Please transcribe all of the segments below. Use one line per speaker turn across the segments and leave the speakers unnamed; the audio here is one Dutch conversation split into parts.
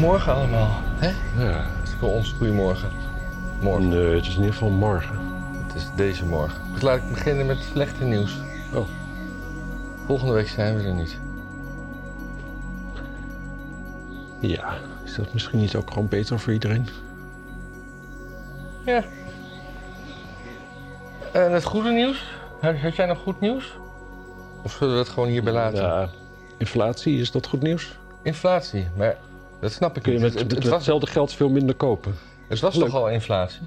Morgen allemaal. Hè?
Ja,
Dus voor ons goedemorgen. Morgen.
nee, eh, het is in ieder geval morgen.
Het is deze morgen. Dus laat ik beginnen met het slechte nieuws.
Oh.
Volgende week zijn we er niet.
Ja, is dat misschien niet ook gewoon beter voor iedereen?
Ja. En het goede nieuws? Had had jij nog goed nieuws? Of zullen we dat gewoon hierbij laten?
Ja, inflatie, is dat goed nieuws?
Inflatie, maar dat snap ik
Kun je
niet.
met,
het,
met,
het
met
was,
hetzelfde geld veel minder kopen?
het was toch al inflatie?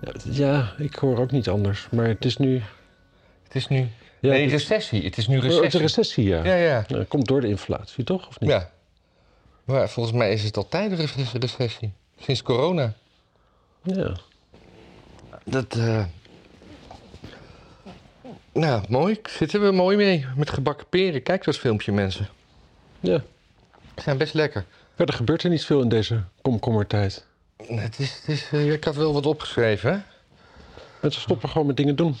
Ja, het- Ja, ik hoor ook niet anders. Maar het is nu...
Het is nu...
Ja,
nee,
het is-
recessie. Het is nu
oh, het is
recessie.
een recessie, ja.
Ja, ja.
Nou, Dat komt door de inflatie, toch? Of niet?
Ja. Maar volgens mij is het altijd een re- recessie. Sinds corona.
Ja.
Dat, eh, Nou, mooi. Zitten we mooi mee met gebakken peren. Kijk dat filmpje, mensen.
ja.
Ze zijn best lekker.
Verder gebeurt er niet veel in deze komkommertijd.
Het is, het is, eh, ik had wel wat opgeschreven, hè?
Mensen stoppen gewoon met dingen doen.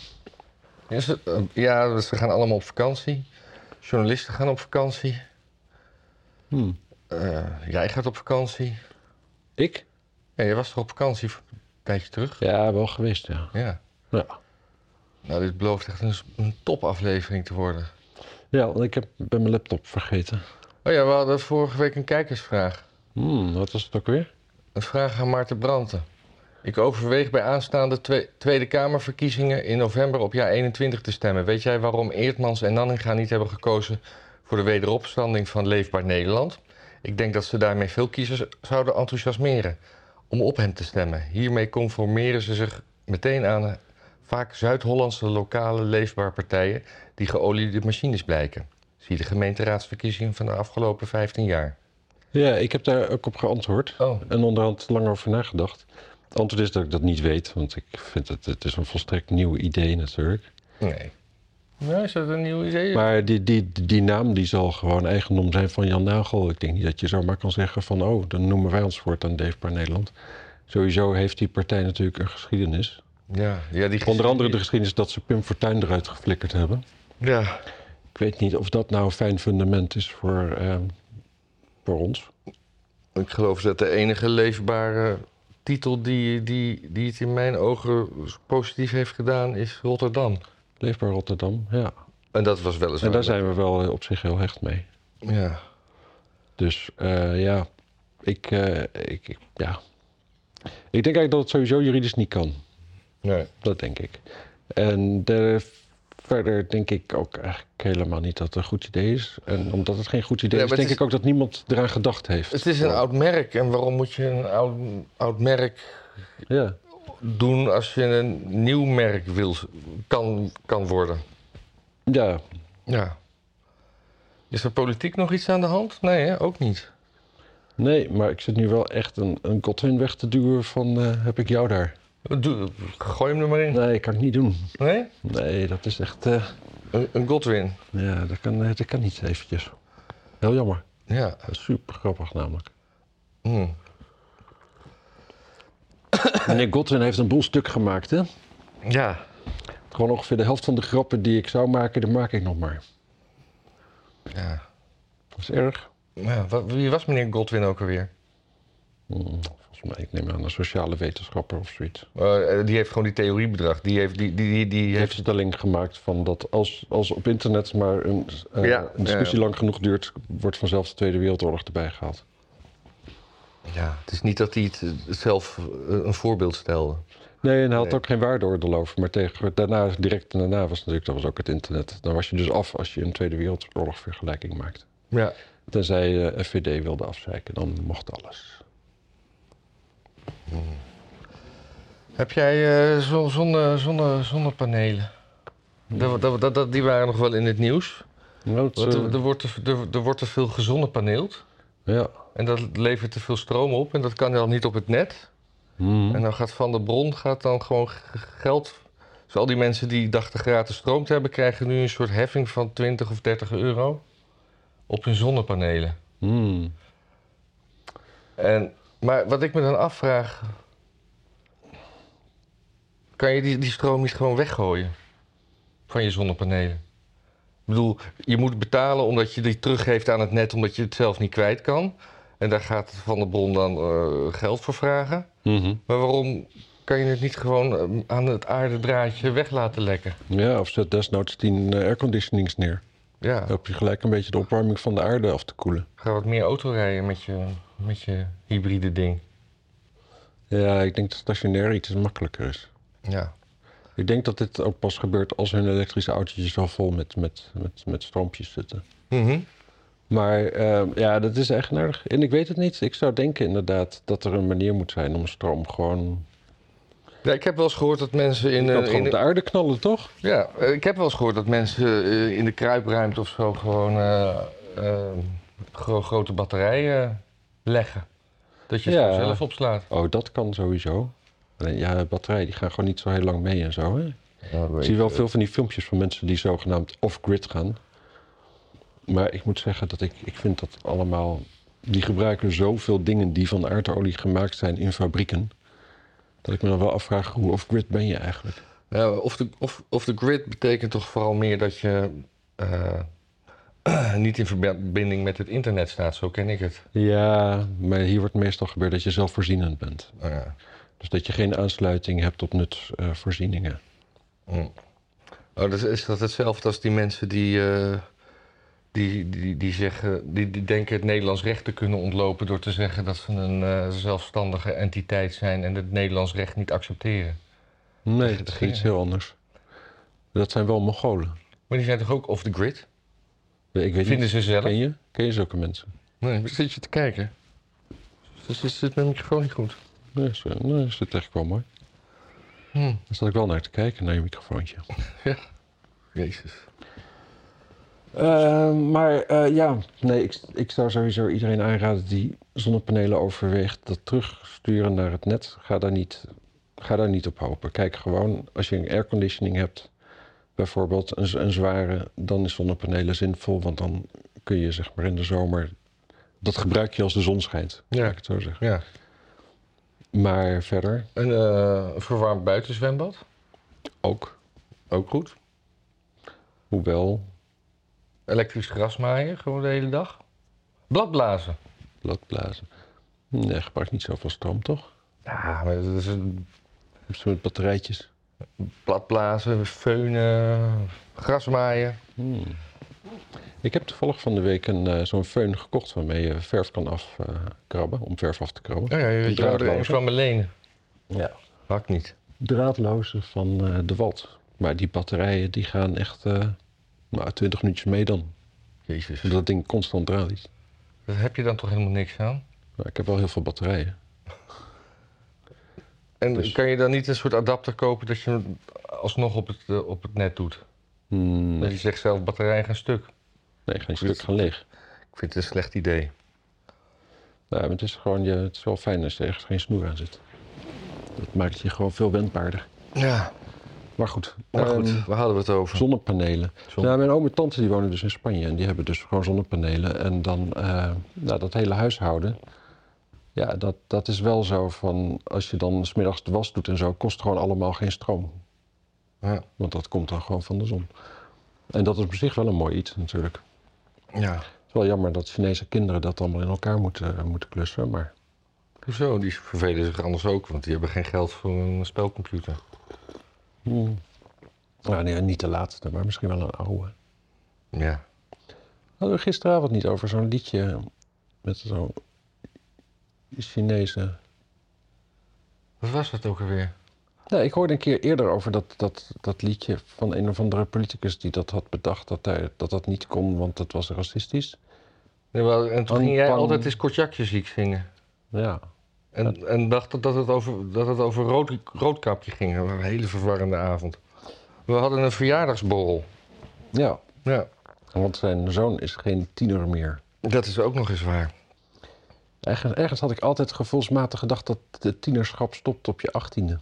Is het, eh, ja, dus we gaan allemaal op vakantie. Journalisten gaan op vakantie.
Hm.
Eh, jij gaat op vakantie.
Ik?
Ja, jij was toch op vakantie een tijdje terug?
Ja, wel geweest, ja.
Ja.
Ja,
Nou, dit belooft echt een, een topaflevering te worden.
ja want ik heb, ben mijn laptop vergeten.
Oh ja, we hadden vorige week een kijkersvraag.
Hmm, wat was het ook weer?
Een vraag aan Maarten Branten. Ik overweeg bij aanstaande twe- Tweede Kamerverkiezingen in november op jaar 21 te stemmen. Weet jij waarom Eertmans en Nanninga niet hebben gekozen voor de wederopstanding van Leefbaar Nederland? Ik denk dat ze daarmee veel kiezers zouden enthousiasmeren om op hem te stemmen. Hiermee conformeren ze zich meteen aan eh, vaak Zuid-Hollandse lokale leefbaar partijen die geoliede machines blijken. Zie de gemeenteraadsverkiezingen van de afgelopen 15 jaar.
Ja, ik heb daar ook op geantwoord.
Oh,
En onderhand lang over nagedacht. Het antwoord is dat ik dat niet weet, want ik vind het, het is een volstrekt nieuw idee natuurlijk.
nee. Nou, is dat een nieuw idee?
Maar die, die, die naam die zal gewoon eigendom zijn van Jan Nagel. Ik denk niet dat je zomaar kan zeggen van, oh, dan noemen wij ons voortaan Deefbaar Nederland. Sowieso heeft die partij natuurlijk een geschiedenis.
Ja, ja die
Onder andere de geschiedenis dat ze Pim Fortuyn eruit geflikkerd hebben.
Ja.
Ik weet niet of dat nou een fijn fundament is voor, eh, voor ons.
Ik geloof dat de enige leefbare titel die, die, die het in mijn ogen positief heeft gedaan is Rotterdam.
Leefbaar Rotterdam, ja.
En dat was wel eens.
En daar zijn we wel eh, op zich heel hecht mee.
Ja.
Dus eh, ja, ik, eh, ik, ik- ja, ik denk eigenlijk dat het sowieso juridisch niet kan.
Nee.
Dat denk ik. En de- verder denk ik ook eigenlijk helemaal niet dat het een goed idee is. En omdat het geen goed idee
Ja,
is,
maar het
denk ik
is-
ook dat niemand eraan gedacht heeft.
Het is een oud merk en waarom moet je een oud, oud merk
Ja,
doen als je een nieuw merk wil, kan, kan worden?
ja.
Ja. Is er politiek nog iets aan de hand? Nee, hè? ook niet.
nee, maar ik zit nu wel echt een, een Godwin weg te duwen van eh, heb ik jou daar.
Doe, gooi hem er maar in.
Nee, kan ik niet doen.
Nee?
Nee, dat is echt, eh,
Een, een Godwin.
ja, dat kan, eh, dat kan niet eventjes. Heel jammer.
Ja.
Dat is super grappig namelijk.
Hm.
Meneer Godwin heeft een boel stuk gemaakt, hè?
Ja.
Gewoon ongeveer de helft van de grappen die ik zou maken, die maak ik nog maar.
Ja.
Dat is erg.
Ja, wa- wie was meneer Godwin ook alweer?
Hmm, volgens mij, ik neem aan een sociale wetenschapper of zoiets. Die
Eh, eh, die heeft gewoon die theorie bedacht. Die heeft, die, die, die, die
heeft
heeft,
de stelling gemaakt van dat als, als op internet maar een, eh,
Ja,
een discussie
ja.
lang genoeg duurt, wordt vanzelf de Tweede Wereldoorlog erbij gehaald.
ja, het is niet dat hij het eh, zelf eh, een voorbeeld stelde.
Nee, en hij had ook geen waardeoordeel over. Maar tegen, daarna, direct daarna was natuurlijk, dat was ook het internet. Dan was je dus af als je een Tweede Wereldoorlog vergelijking maakt.
Ja.
Tenzij eh, je FVD wilde afzeiken, dan mocht alles.
Heb jij eh, zo- zonne, zonne, zonnepanelen? Dat, dat, dat, dat- die waren nog wel in het nieuws.
Nou,
Want
dat, eh,
er, er wordt te, er, er wordt te veel gezonnepaneeld.
ja.
En dat levert te veel stroom op. En dat kan dan niet op het net.
Hmm.
En dan gaat Van der Bron gaat dan gewoon g- geld... Dus al die mensen die dachten gratis stroom te hebben... krijgen nu een soort heffing van 20 of 30 euro... op hun zonnepanelen.
Hmm.
En, maar wat ik me dan afvraag... kan je die, die stroom niet gewoon weggooien? Van je zonnepanelen. Ik bedoel, je moet betalen omdat je die teruggeeft aan het net... omdat je het zelf niet kwijt kan. En daar gaat Van der Bron dan eh, geld voor vragen.
Mhm.
Maar waarom kan je het niet gewoon eh, aan het aardedraadje weg laten lekken?
Ja, of zet desnoods 10 eh, airconditionings neer.
Ja,
Help je gelijk een beetje de opwarming van de aarde af te koelen.
ga wat meer auto rijden met je, met je hybride ding.
Ja, ik denk dat stationair iets makkelijker is.
Ja,
Ik denk dat dit ook pas gebeurt als hun elektrische autootjes al vol met, met, met, met stroompjes zitten.
Mhm.
Maar ehm, ja, dat is echt nodig. En ik weet het niet. Ik zou denken inderdaad dat er een manier moet zijn om stroom gewoon...
ja ik heb wel eens gehoord dat mensen in...
Je kan
eh,
het gewoon
in
op de aarde knallen, toch?
Ja, eh, ik heb wel eens gehoord dat mensen eh, in de kruipruimte of zo gewoon eh, eh, gro- grote batterijen leggen. Dat je het
Ja.
gewoon zelf opslaat.
Oh, dat kan sowieso. Alleen ja, de batterijen die gaan gewoon niet zo heel lang mee en zo, hè? Ik zie wel veel van die filmpjes van mensen die zogenaamd off-grid gaan. Maar ik moet zeggen dat ik, ik vind dat allemaal... Die gebruiken zoveel dingen die van aardolie gemaakt zijn in fabrieken. Dat ik me dan wel afvraag, hoe off-grid ben je eigenlijk?
Ja, Eh, of, de, of, of de grid betekent toch vooral meer dat je eh, niet in verbinding met het internet staat. Zo ken ik het.
Ja, maar hier wordt meestal gebeurd dat je zelfvoorzienend bent.
Nou ja.
Dus dat je geen aansluiting hebt op nutvoorzieningen.
Mm. Oh, dus is dat hetzelfde als die mensen die, eh, die, die, die, zeggen, die, die denken het Nederlands recht te kunnen ontlopen door te zeggen dat ze een eh, zelfstandige entiteit zijn en het Nederlands recht niet accepteren?
nee, dat is iets heel anders. Dat zijn wel Mongolen.
Maar die zijn toch ook off the grid?
Ik weet
Vinden
niet,
ze zelf?
ken je? Ken je zulke mensen?
Nee, wat zit je te kijken? Dus het zit mijn microfoon niet goed.
Nee, is, eh, nee, is het eigenlijk wel mooi.
Hm.
Daar zat ik wel naar te kijken, naar je microfoontje.
Jezus.
Eh, maar eh, ja, nee, ik, ik zou sowieso iedereen aanraden die zonnepanelen overweegt, dat terugsturen naar het net. Ga daar niet, ga daar niet op hopen. Kijk gewoon, als je een airconditioning hebt, bijvoorbeeld een, z- een zware, dan is zonnepanelen zinvol. Want dan kun je zeg maar in de zomer, dat gebruik je als de zon schijnt,
Ja.
ja. ik het zo zeggen.
Ja.
Maar verder
Een eh, verwarmd buitenzwembad?
ook,
Ook goed.
hoewel
Elektrisch grasmaaien, gewoon de hele dag. Bladblazen.
bladblazen. Nee, gebruik niet zoveel stroom toch?
Ja, maar dat is een
Misschien met batterijtjes.
platblazen, feunen, grasmaaien.
Hmm. Ik heb toevallig van de week een, eh, zo'n föhn gekocht waarmee je verf kan afkrabben, om verf af te krabben.
Oh ja, je
draadloze.
trouwde eens van me lenen.
Ja.
Hakt niet.
Draadloze van eh, de Walt. Maar die batterijen die gaan echt eh nou, 20 minuutjes mee dan.
Jezus.
Dat ding constant draad is.
Daar heb je dan toch helemaal niks aan?
Maar ik heb wel heel veel batterijen.
En
Dus-
kan je dan niet een soort adapter kopen dat je hem alsnog op het, eh, op het net doet?
Hmm,
Dat
nee,
je zegt zelf, batterijen gaan stuk.
nee, geen stuk gaan leeg.
Ik vind het een slecht idee.
Nou, maar het is gewoon, je, het is wel fijn als er ergens geen snoer aan zit. Dat maakt je gewoon veel wendbaarder.
Ja,
Maar goed,
nou
ehm,
goed, waar hadden we het over?
Zonnepanelen.
Zon-
Nou, mijn oom en tante die wonen dus in Spanje en die hebben dus gewoon zonnepanelen. En dan eh, nou, dat hele huishouden. Ja, dat, dat is wel zo van als je dan smiddags de was doet en zo, kost gewoon allemaal geen stroom.
Ja.
Want dat komt dan gewoon van de zon. En dat is op zich wel een mooi iets natuurlijk. Het
ja.
is wel jammer dat Chinese kinderen dat allemaal in elkaar moeten, moeten klussen. Maar
Hoezo? Die vervelen zich anders ook, want die hebben geen geld voor een spelcomputer.
hmm. nou, nee, niet de laatste, maar misschien wel een oude.
Ja.
Hadden we gisteravond niet over zo'n liedje met zo'n Chinese
Wat was dat ook alweer?
Ja, ik hoorde een keer eerder over dat, dat, dat liedje van een of andere politicus die dat had bedacht, dat hij, dat, dat niet kon, want dat was racistisch.
Nee, maar, en toen ging jij
Anpan.
altijd eens Kortjakje ziek zingen.
Ja,
En, en dacht dat, dat het over, dat het over rood, roodkapje ging. Dat was een hele verwarrende avond. We hadden een verjaardagsborrel.
ja.
Ja,
want zijn zoon is geen tiener meer.
dat is ook nog eens waar.
Ergens, ergens had ik altijd gevoelsmatig gedacht dat de tienerschap stopt op je achttiende.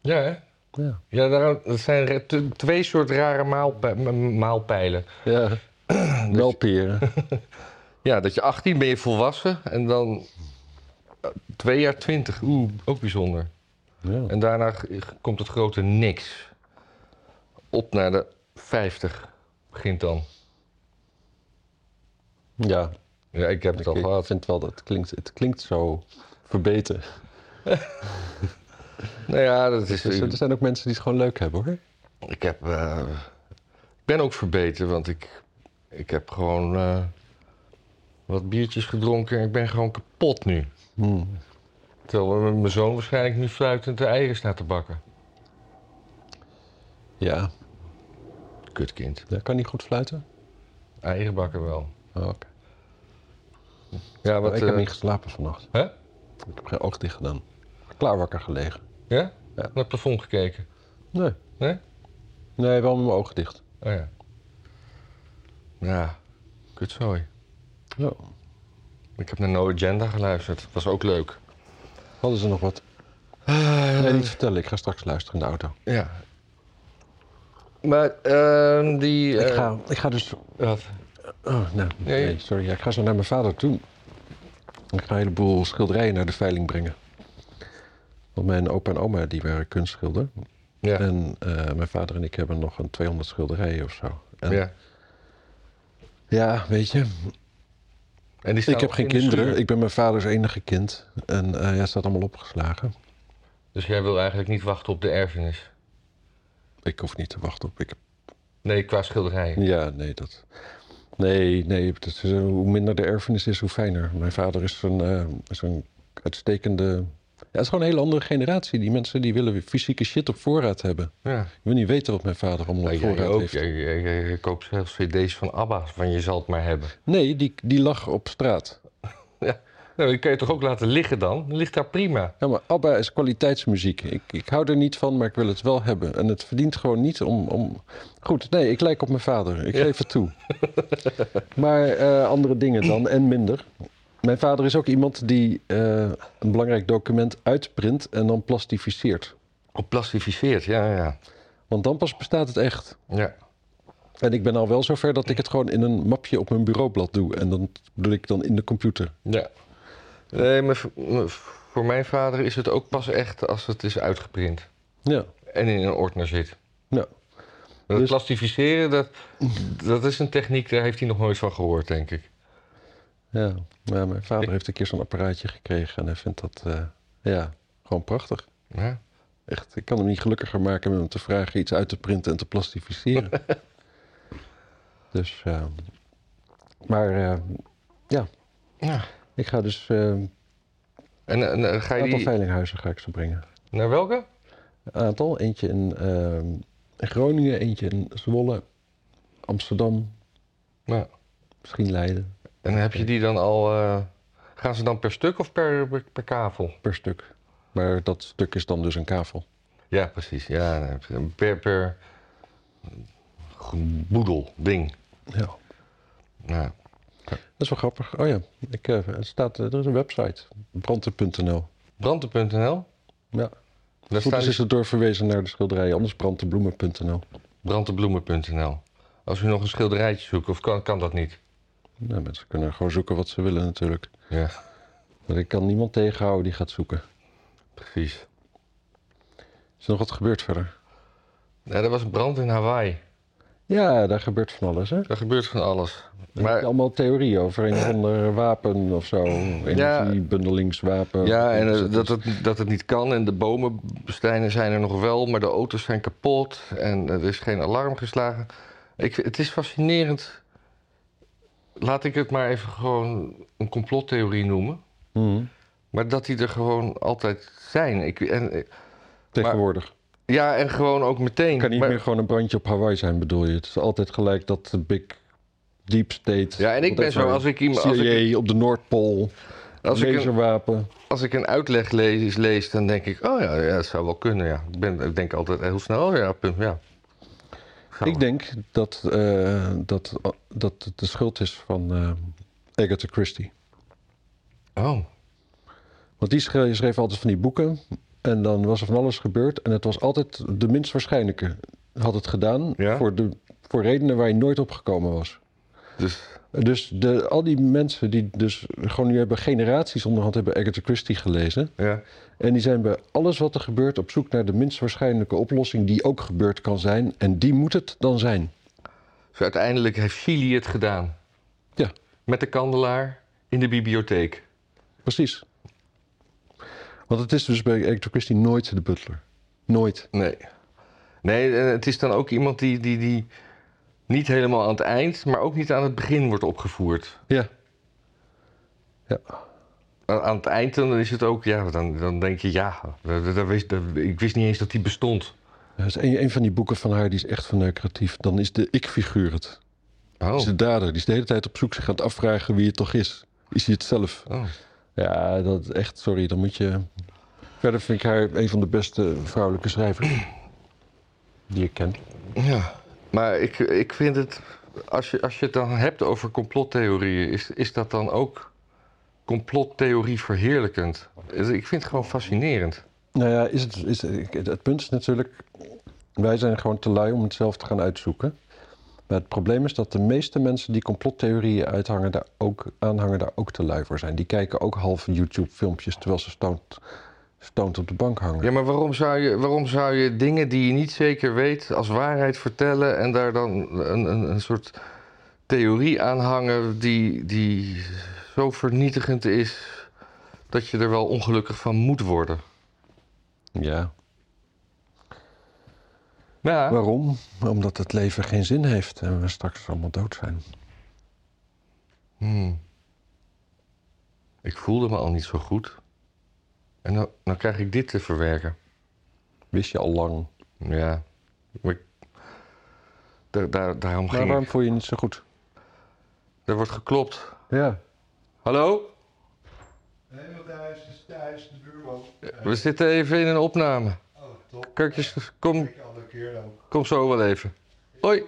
Ja, hè?
Ja.
Ja, daarom, dat zijn re- t- twee soort rare maalpij- m- maalpijlen.
ja. Melperen.
Ja, dat je 18 ben je volwassen en dan eh, twee jaar 20. Oeh, ook bijzonder.
Ja.
En daarna g- g- komt het grote niks. Op naar de 50 begint dan.
ja.
Ja, ik heb het al
ik
gehad.
vind wel dat het klinkt, het klinkt zo verbeten.
Nou ja, dat
Dus
is...
er zijn ook mensen die het gewoon leuk hebben hoor.
Ik heb... eh, ik ben ook verbeterd, want ik, ik heb gewoon eh, wat biertjes gedronken en ik ben gewoon kapot nu.
Hmm.
Terwijl mijn- mijn zoon waarschijnlijk nu fluitend de eieren staat te bakken.
Ja,
Kutkind.
daar kan niet goed fluiten.
Eieren bakken wel.
Oh, oké.
Ja,
Maar
wat...
ik heb
eh,
niet geslapen vannacht.
Hè?
Ik heb geen oog dicht gedaan. Klaar wakker gelegen.
Ja?
Ja.
Naar het plafond gekeken.
Nee.
Nee?
Nee, wel met mijn ogen dicht.
Oh ja. Ja, kutzooi.
Ja.
Ik heb naar No Agenda geluisterd. Was ook leuk.
Hadden ze nog wat?
Eh.
Nee, niet vertellen. Ik ga straks luisteren in de auto.
Ja. Maar ehm die...
Ik
eh,
ga, ik ga dus...
Wat?
Oh, nou,
Nee.
nee, sorry. Ja, ik ga zo naar mijn vader toe. Ik ga een heleboel schilderijen naar de veiling brengen. Want mijn opa en oma die waren kunstschilder.
Ja.
En eh, mijn vader en ik hebben nog een 200 schilderijen of zo. En,
ja.
ja, weet je.
En die staan
Ik heb
ook
geen
in de
kinderen.
schuur.
Ik ben mijn vaders enige kind. En eh, hij staat allemaal opgeslagen.
Dus jij wil eigenlijk niet wachten op de erfenis?
Ik hoef niet te wachten op. Ik
Nee, qua schilderijen.
Ja, nee, dat. Nee, nee. het is, eh, hoe minder de erfenis is, hoe fijner. Mijn vader is een, eh, is een uitstekende. Ja, het is gewoon een hele andere generatie. Die mensen die willen weer fysieke shit op voorraad hebben.
Ja.
Je wil niet weten wat mijn vader allemaal
Ja,
op
jij
voorraad
ook.
heeft.
Jij, jij- jij- jij koopt zelfs cd's van ABBA, van je zal het maar hebben.
Nee, die, die lag op straat.
Nou, die kan je toch ook laten liggen dan? Die ligt daar prima.
Ja, maar ABBA is kwaliteitsmuziek. Ik, ik hou er niet van, maar ik wil het wel hebben. En het verdient gewoon niet om... om... Goed, nee, ik lijk op mijn vader. Ik
Ja.
geef het toe. maar eh, andere dingen dan en minder. Mijn vader is ook iemand die eh, een belangrijk document uitprint en dan plastificeert.
Op plastificeert, ja, ja.
Want dan pas bestaat het echt.
Ja,
En ik ben al wel zover dat ik het gewoon in een mapje op mijn bureaublad doe. En dan bedoel ik dan in de computer.
ja. Nee, maar voor- maar voor mijn vader is het ook pas echt als het is uitgeprint.
Ja,
En in een ordner zit.
ja.
Dat
Dus-
plastificeren, dat, dat is een techniek, daar heeft hij nog nooit van gehoord, denk ik.
Ja, ja, mijn vader heeft een keer zo'n apparaatje gekregen en hij vindt dat eh, ja, gewoon prachtig.
Ja,
Echt, ik kan hem niet gelukkiger maken met hem te vragen iets uit te printen en te plastificeren. dus, eh, maar eh,
ja.
ik ga dus eh, een
En, eh, nou, ga je
aantal
die
veilinghuizen ga ik ze brengen.
naar welke?
Een aantal, eentje in eh, in Groningen, eentje in Zwolle, Amsterdam,
Nou,
misschien Leiden,
en heb je die dan al... eh, gaan ze dan per stuk of per, per, per kavel?
per stuk. Maar dat stuk is dan dus een kavel.
Ja, precies. Ja, per, per boedel, ding.
Ja.
Ja.
Dat is wel grappig. Oh ja, ik, eh, het staat, eh, er is een website, brandte.nl.
Branden.nl.
Ja.
Daar
Goed
staat dus-
is, is het doorverwezen naar de schilderijen, anders brandtebloemen.nl.
brandebloemen.nl. Als u nog een schilderijtje zoekt, of kan, kan dat niet?
Nou, mensen kunnen gewoon zoeken wat ze willen natuurlijk.
Ja,
Maar ik kan niemand tegenhouden die gaat zoeken.
precies.
Is er nog wat gebeurd verder?
Ja, er was een brand in Hawaii.
Ja, daar gebeurt van alles, hè?
Er gebeurt van alles.
Maar...
Maar
allemaal theorieën over een of ander wapen of zo. Energiebundelingswapen.
ja, en eh, dat het, dat het niet kan. En de bomenstijnen zijn er nog wel, maar de auto's zijn kapot. En er is geen alarm geslagen. Ik, vind- het is fascinerend. Laat ik het maar even gewoon een complottheorie noemen.
Mhm.
Maar dat die er gewoon altijd zijn. Ik, en, eh,
Tegenwoordig.
ja, en gewoon ook meteen.
Het kan niet
Maar-
meer gewoon een brandje op Hawaii zijn, bedoel je? Het is altijd gelijk dat de big deep state...
Ja, en ik ben zo, als ik, iemand- als ik,
CIA op de Noordpool,
als ik, een,
laserwapen.
als ik een uitleg lees, lees, dan denk ik, oh ja, ja, het zou wel kunnen. Ja. Ik, ben, ik denk altijd heel snel, oh ja, punt, ja. Zou-
Ik denk dat, eh, dat, dat het de schuld is van eh, Agatha Christie.
Oh,
Want die schreef, schreef altijd van die boeken. En dan was er van alles gebeurd. En het was altijd de minst waarschijnlijke had het gedaan.
Ja?
Voor, de, voor redenen waar je nooit op gekomen was.
dus
Dus de, al die mensen die dus gewoon nu hebben generaties onderhand hebben Agatha Christie gelezen.
ja.
En die zijn bij alles wat er gebeurt op zoek naar de minst waarschijnlijke oplossing die ook gebeurd kan zijn. En die moet het dan zijn.
Dus uiteindelijk heeft Chili het gedaan.
Ja.
met de kandelaar in de bibliotheek.
Precies. Want het is dus bij Agatha Christie nooit de butler. Nooit.
Nee. Nee, eh, het is dan ook iemand die, die, die niet helemaal aan het eind, maar ook niet aan het begin wordt opgevoerd.
Ja. Ja.
Aan, aan het eind dan is het ook, ja, dan, dan denk je, ja, dat, dat- dat wist, dat- ik wist niet eens dat die bestond.
Dat is een, een van die boeken van haar die is echt verneukeratief. Dan is de ik-figuur het.
Oh.
is de dader. Die is de hele tijd op zoek zich aan het afvragen wie het toch is. Is hij het zelf?
oh.
Ja, dat is echt, sorry, dan moet je... Verder vind ik haar een van de beste vrouwelijke schrijvers die ik ken.
Ja, maar ik, ik vind het, als je, als je het dan hebt over complottheorieën, is, is dat dan ook complottheorie verheerlijkend? Dus Ik vind het gewoon fascinerend.
Nou ja, is het, is, het het punt is natuurlijk... Wij zijn gewoon te lui om het zelf te gaan uitzoeken. Maar het probleem is dat de meeste mensen die complottheorieën uithangen, daar ook, aanhangen, daar ook te lui voor zijn. Die kijken ook halve YouTube-filmpjes terwijl ze stoned, stoned op de bank hangen.
Ja, maar waarom zou, je, waarom zou je dingen die je niet zeker weet als waarheid vertellen en daar dan een, een, een soort theorie aan hangen die, die zo vernietigend is dat je er wel ongelukkig van moet worden?
ja.
Ja,
Waarom? Omdat het leven geen zin heeft en we straks allemaal dood zijn.
Hmm. Ik voelde me al niet zo goed. En dan, dan krijg ik dit te verwerken.
Wist je al lang.
Ja. Maar ik- daar, daar, daarom
Maar
ging
waarom
ik.
voel je je niet zo goed?
Er wordt geklopt.
Ja.
Hallo?
Nee, want hij is dus thuis, de buurman.
We zitten even in een opname.
Oh, top.
Kurkjes, kom,
Kijk, de andere keer dan.
kom zo wel even. Hoi.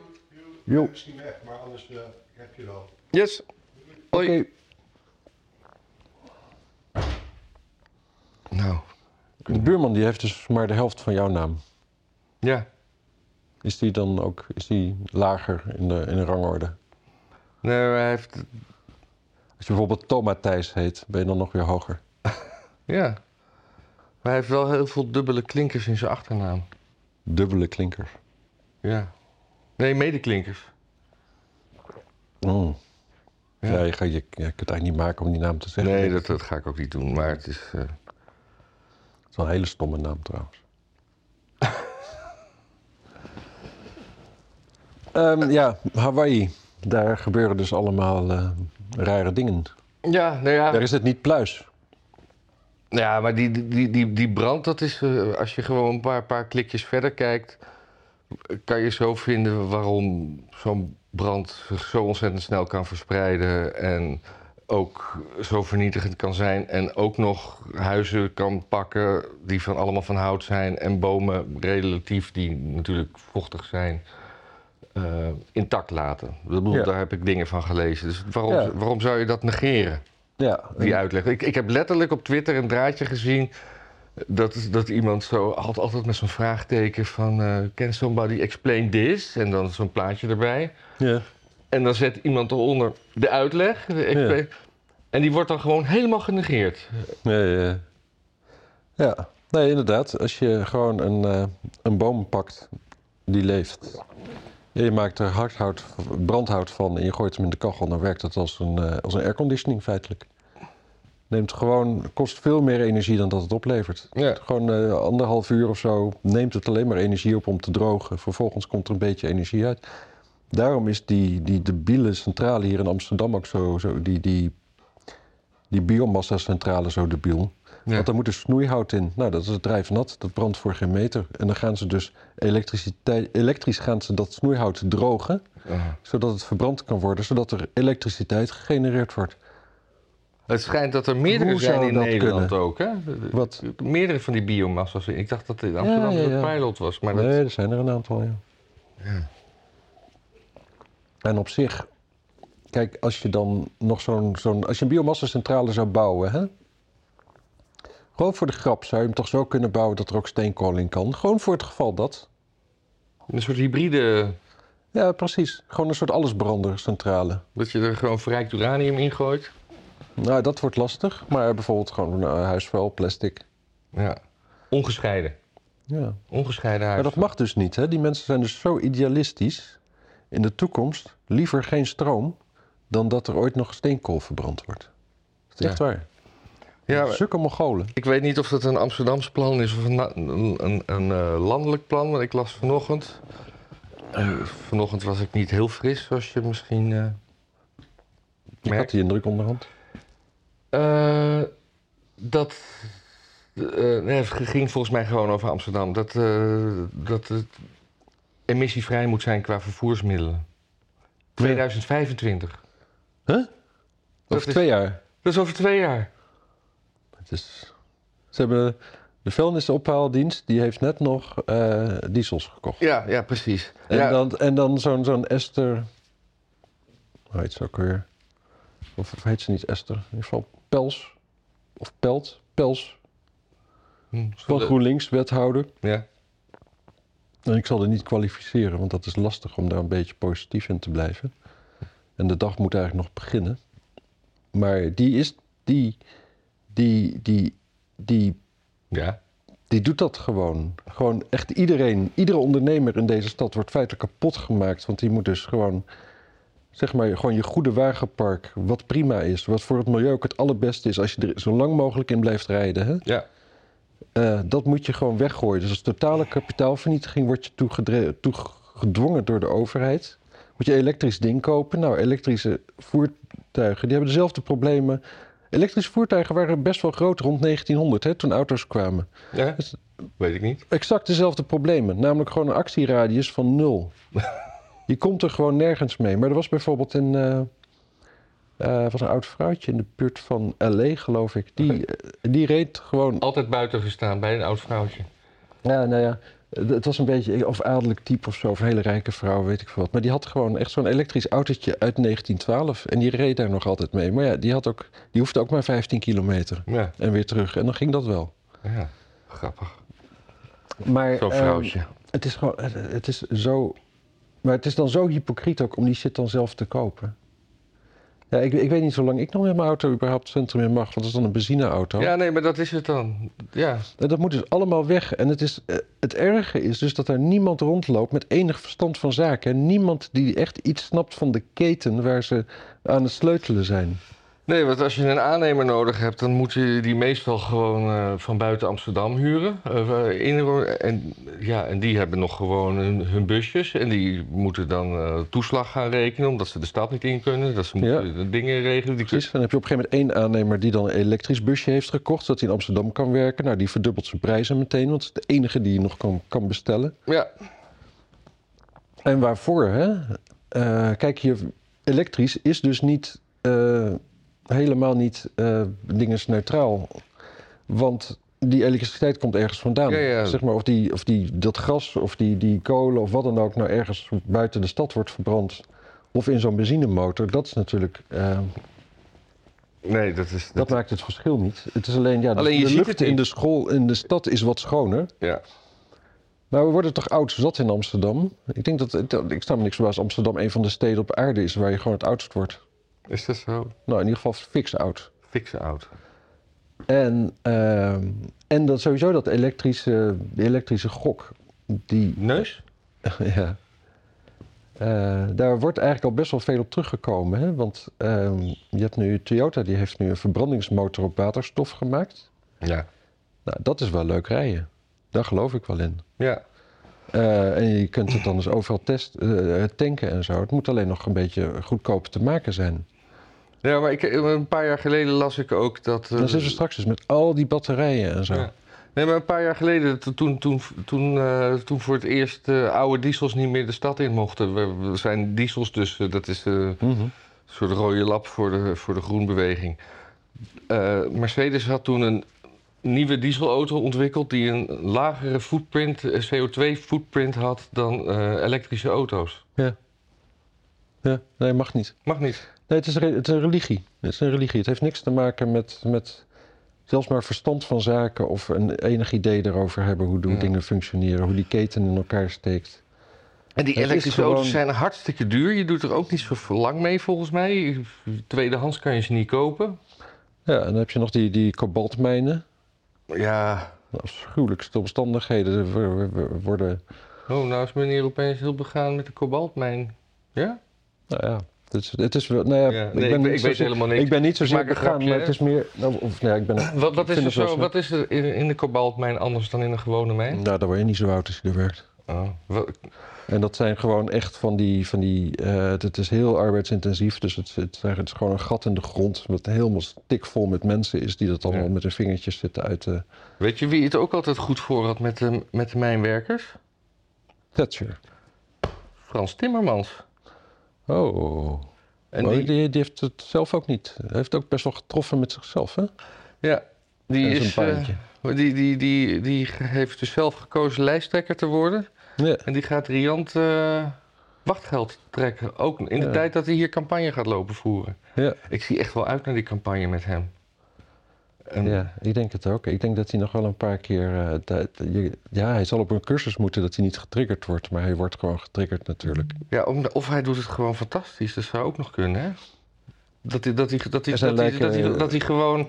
Jo.
Misschien weg, maar anders eh, ik heb je wel.
Yes. Hoi.
Oké.
Nou,
De buurman die heeft dus maar de helft van jouw naam.
ja.
Is die dan ook is die lager in de, in de rangorde?
Nee, hij heeft...
Als je bijvoorbeeld Toma Thijs heet, ben je dan nog weer hoger.
Ja. Maar hij heeft wel heel veel dubbele klinkers in zijn achternaam.
Dubbele klinker.
Ja. Nee, medeklinkers.
Mm.
Ja.
Ja, je, gaat, je, je kunt het eigenlijk niet maken om die naam te zeggen.
Nee, dat, dat ga ik ook niet doen. Maar het is... eh,
Dat is wel een hele stomme naam trouwens. Ehm, ja, Hawaii. Daar gebeuren dus allemaal eh, rare dingen.
Ja, nou ja.
Daar is het niet pluis.
Ja, maar die, die, die, die brand, dat is, eh, als je gewoon een paar, paar klikjes verder kijkt, kan je zo vinden waarom zo'n brand zich zo ontzettend snel kan verspreiden en ook zo vernietigend kan zijn en ook nog huizen kan pakken die van allemaal van hout zijn en bomen relatief, die natuurlijk vochtig zijn, eh, intact laten. Ik bedoel,
Ja.
Daar heb ik dingen van gelezen. Dus waarom,
Ja.
waarom zou je dat negeren?
Ja,
die uitleg. Ik, ik heb letterlijk op Twitter een draadje gezien. Dat, dat iemand zo had altijd met zo'n vraagteken van... eh, can somebody explain this? En dan zo'n plaatje erbij.
ja.
En dan zet iemand eronder de uitleg. de expla-
Ja.
En die wordt dan gewoon helemaal genegeerd.
Ja, ja. eh. ja. nee, inderdaad. Als je gewoon een, eh, een boom pakt die leeft. en je maakt er hardhout, brandhout van en je gooit hem in de kachel. Dan werkt dat als een, eh, als een airconditioning feitelijk. Neemt gewoon, kost veel meer energie dan dat het oplevert.
Ja.
Gewoon eh, anderhalf uur of zo neemt het alleen maar energie op om te drogen. Vervolgens komt er een beetje energie uit. Daarom is die, die debiele centrale hier in Amsterdam ook zo, zo die, die, die biomassa-centrale zo debiel.
Ja.
Want daar moet dus snoeihout in. Nou, dat is drijfnat, dat brandt voor geen meter. En dan gaan ze dus elektriciteit, elektrisch gaan ze dat snoeihout drogen,
Ah.
zodat het verbrand kan worden, zodat er elektriciteit gegenereerd wordt.
Het schijnt dat er meerdere
Hoe
zijn
zou
in
dat
Nederland
kunnen?
ook. Hè? De- de-
Wat?
Meerdere van die biomassa's. Ik dacht dat in Amsterdam
Ja, ja, ja.
een pilot was. Maar dat,
nee, er zijn er een aantal, ja. En op zich, kijk, als je dan nog zo'n... zo'n als je een biomassa-centrale zou bouwen, hè? Gewoon voor de grap zou je hem toch zo kunnen bouwen dat er ook steenkool in kan. Gewoon voor het geval dat.
een soort hybride...
Ja, precies. Gewoon een soort allesbrandercentrale.
Dat je er gewoon verrijkt uranium in gooit.
Nou, dat wordt lastig. Maar bijvoorbeeld gewoon eh, huisvuil, plastic.
Ja. Ongescheiden.
Ja.
Ongescheiden huis.
Maar dat mag dus niet. Hè? Die mensen zijn dus zo idealistisch. In de toekomst liever geen stroom dan dat er ooit nog steenkool verbrand wordt. Dat is echt
Ja.
waar.
Ja, maar
Sukke Mongolen.
ik weet niet of dat een Amsterdams plan is of een, na- een, een, een, eh, landelijk plan, want ik las vanochtend. eh, vanochtend was ik niet heel fris, zoals je misschien. eh,
Ik had
merkt.
die indruk onderhand.
Eh, dat. eh, nee, het ging volgens mij gewoon over Amsterdam. Dat, eh, dat het emissievrij moet zijn qua vervoersmiddelen. 2025.
Huh?
Dat
Over
is-
twee jaar.
Dat is over twee jaar.
Het is... Ze hebben de vuilnisophaaldienst, die heeft net nog eh, diesels gekocht.
Ja, ja precies.
En
ja,
dan, en dan zo'n zo'n Esther. Hoe heet ze ook weer? Of, of heet ze niet Esther? In ieder geval Pels. Of Pelt. Pels.
hm,
Van
de-
GroenLinks, wethouder.
ja.
En ik zal er niet kwalificeren, want dat is lastig om daar een beetje positief in te blijven. En de dag moet eigenlijk nog beginnen. Maar die is. Die. Die. Die. Die
ja.
die doet dat gewoon. Gewoon echt iedereen, iedere ondernemer in deze stad wordt feitelijk kapot gemaakt. Want die moet dus gewoon, zeg maar, gewoon je goede wagenpark, wat prima is, wat voor het milieu ook het allerbeste is als je er zo lang mogelijk in blijft rijden. Hè?
Ja.
Eh, dat moet je gewoon weggooien. Dus als totale kapitaalvernietiging word je toegedre- toegedwongen door de overheid. Moet je een elektrisch ding kopen? Nou, elektrische voertuigen, die hebben dezelfde problemen. Elektrische voertuigen waren best wel groot rond 1900, hè, toen auto's kwamen.
Ja? Weet ik niet.
Exact dezelfde problemen, namelijk gewoon een actieradius van nul. Je komt er gewoon nergens mee. Maar er was bijvoorbeeld een, eh, eh, was een oud vrouwtje in de buurt van L.A., geloof ik. Die, eh, die reed gewoon
Altijd buiten gestaan bij een oud vrouwtje.
ja, nou ja, d- het was een beetje of adellijk type of zo, of een hele rijke vrouw, weet ik veel wat. Maar die had gewoon echt zo'n elektrisch autootje uit 1912 en die reed daar nog altijd mee. Maar ja, die, had ook, die hoefde ook maar 15 kilometer
Ja.
en weer terug en dan ging dat wel.
ja. Grappig.
Maar
Zo'n
ehm,
vrouwtje.
het is gewoon, het, het is zo, maar het is dan zo hypocriet ook om die shit dan zelf te kopen. Ja, ik, ik weet niet zo lang ik nog met mijn auto überhaupt het centrum in mag, want dat is dan een benzineauto.
Ja, nee, maar dat is het dan. Ja.
En Dat moet dus allemaal weg. En het, is, eh, het erge is dus dat er niemand rondloopt met enig verstand van zaken. En niemand die echt iets snapt van de keten waar ze aan het sleutelen zijn.
Nee, want als je een aannemer nodig hebt, dan moet je die meestal gewoon eh, van buiten Amsterdam huren. Eh, in- en, ja, en die hebben nog gewoon hun, hun busjes. En die moeten dan eh, toeslag gaan rekenen, omdat ze de stad niet in kunnen. Dat ze moeten de dingen regelen. Die
Precies. Dan heb je op een gegeven moment één aannemer die dan een elektrisch busje heeft gekocht. Zodat hij in Amsterdam kan werken. Nou, die verdubbelt zijn prijzen meteen. Want het is de enige die je nog kan, kan bestellen.
Ja,
En waarvoor, hè? Eh, kijk, hier, elektrisch is dus niet eh, helemaal niet eh dinges neutraal. Want die elektriciteit komt ergens vandaan.
Ja, ja.
Zeg maar, of, die, of die, dat gas of die, die kolen of wat dan ook nou ergens buiten de stad wordt verbrand. Of in zo'n benzinemotor, dat is natuurlijk. eh,
nee, dat is...
dat maakt het verschil niet. Het is alleen, ja, de-
Alleen je
de
ziet
lucht
het
in
niet.
de school, in de stad is wat schoner.
ja.
Maar Nou, we worden toch oud zat in Amsterdam? Ik denk dat, dat- ik sta me niks verbaasd, Amsterdam een van de steden op aarde is waar je gewoon het oudst wordt.
Is dat zo?
Nou, in ieder geval fix oud.
Fixe oud.
En, ehm, en dat sowieso dat elektrische, die elektrische gok, die,
Neus?
ja, Eh, daar wordt eigenlijk al best wel veel op teruggekomen. Hè? Want ehm, je hebt nu, Toyota die heeft nu een verbrandingsmotor op waterstof gemaakt.
Ja.
Nou, dat is wel leuk rijden. Daar geloof ik wel in.
Ja.
Eh, en je kunt het dan dus overal test, eh, tanken en zo. Het moet alleen nog een beetje goedkoper te maken zijn.
Ja, maar ik, eh, een paar jaar geleden las ik ook dat... eh,
Dan zitten we straks dus met al die batterijen en zo.
Ja. Nee, maar een paar jaar geleden, to- toen, toen, toen, eh, toen voor het eerst eh, oude diesels niet meer de stad in mochten. We, we zijn diesels dus, eh, dat is eh, een
Mhm.
soort rode lap voor de, voor de groenbeweging. Eh, Mercedes had toen een nieuwe dieselauto ontwikkeld die een lagere footprint, eh, CO2-footprint had dan eh, elektrische auto's.
ja. Nee, mag niet.
Mag niet.
Nee, het is, re- het is een religie. Het is een religie. Het heeft niks te maken met, met zelfs maar verstand van zaken of een enig idee erover hebben hoe hoe
Ja.
dingen functioneren, hoe die keten in elkaar steekt.
En die
Het is
Eh, elektrische
gewoon-
auto's zijn hartstikke duur. Je doet er ook niet zo lang mee volgens mij. Tweedehands kan je ze niet kopen.
Ja, en dan heb je nog die, die kobaltmijnen.
Ja,
De afschuwelijkste omstandigheden Er wo- wo- wo- worden
Oh, nou is meneer opeens heel begaan met de kobaltmijn. Ja?
Nou ja, Het is, het is wel, nou ja,
Ja,
ik,
nee,
ben
ik-
niet
ik weet
zozeer-
helemaal niks.
Ik ben niet
Ik
zozeer
maak een
begaan,
grapje,
maar het
hè?
is meer... Nou, of, nou ja, ik ben,
Wat, wat,
ik
is,
vind
er
het
zo,
wel snel.
wat is er in, in de kobaltmijn anders dan in een gewone mijn?
Nou, daar word je niet zo oud als je er werkt.
Oh, wel-
En dat zijn gewoon echt van die, van die eh, het, het is heel arbeidsintensief, dus het, het, zijn- het is gewoon een gat in de grond wat helemaal stikvol met mensen is die dat allemaal
Ja.
met hun vingertjes zitten uit eh, de
Weet je wie het ook altijd goed voor had met de, met de mijnwerkers?
Thatcher.
Frans Timmermans.
Oh,
En
Maar
die,
die, die heeft het zelf ook niet. Hij heeft ook best wel getroffen met zichzelf, hè?
ja, die,
En zijn
is, eh,
baantje.
die, die, die, die heeft dus zelf gekozen lijsttrekker te worden.
Ja.
En die gaat riant eh, wachtgeld trekken. Ook in de
Ja.
tijd dat hij hier campagne gaat lopen voeren.
Ja.
Ik zie echt wel uit naar die campagne met hem. En-
ja, ik denk het ook. Ik denk dat hij nog wel een paar keer... eh, dat- je- ja, hij zal op een cursus moeten dat hij niet getriggerd wordt, maar hij wordt gewoon getriggerd natuurlijk.
Ja, om- of hij doet het gewoon fantastisch. Dat zou ook nog kunnen, hè? Dat hij, dat hij, dat hij,
Er
dat
zijn
hij, dat
lijken-
hij, dat hij gewoon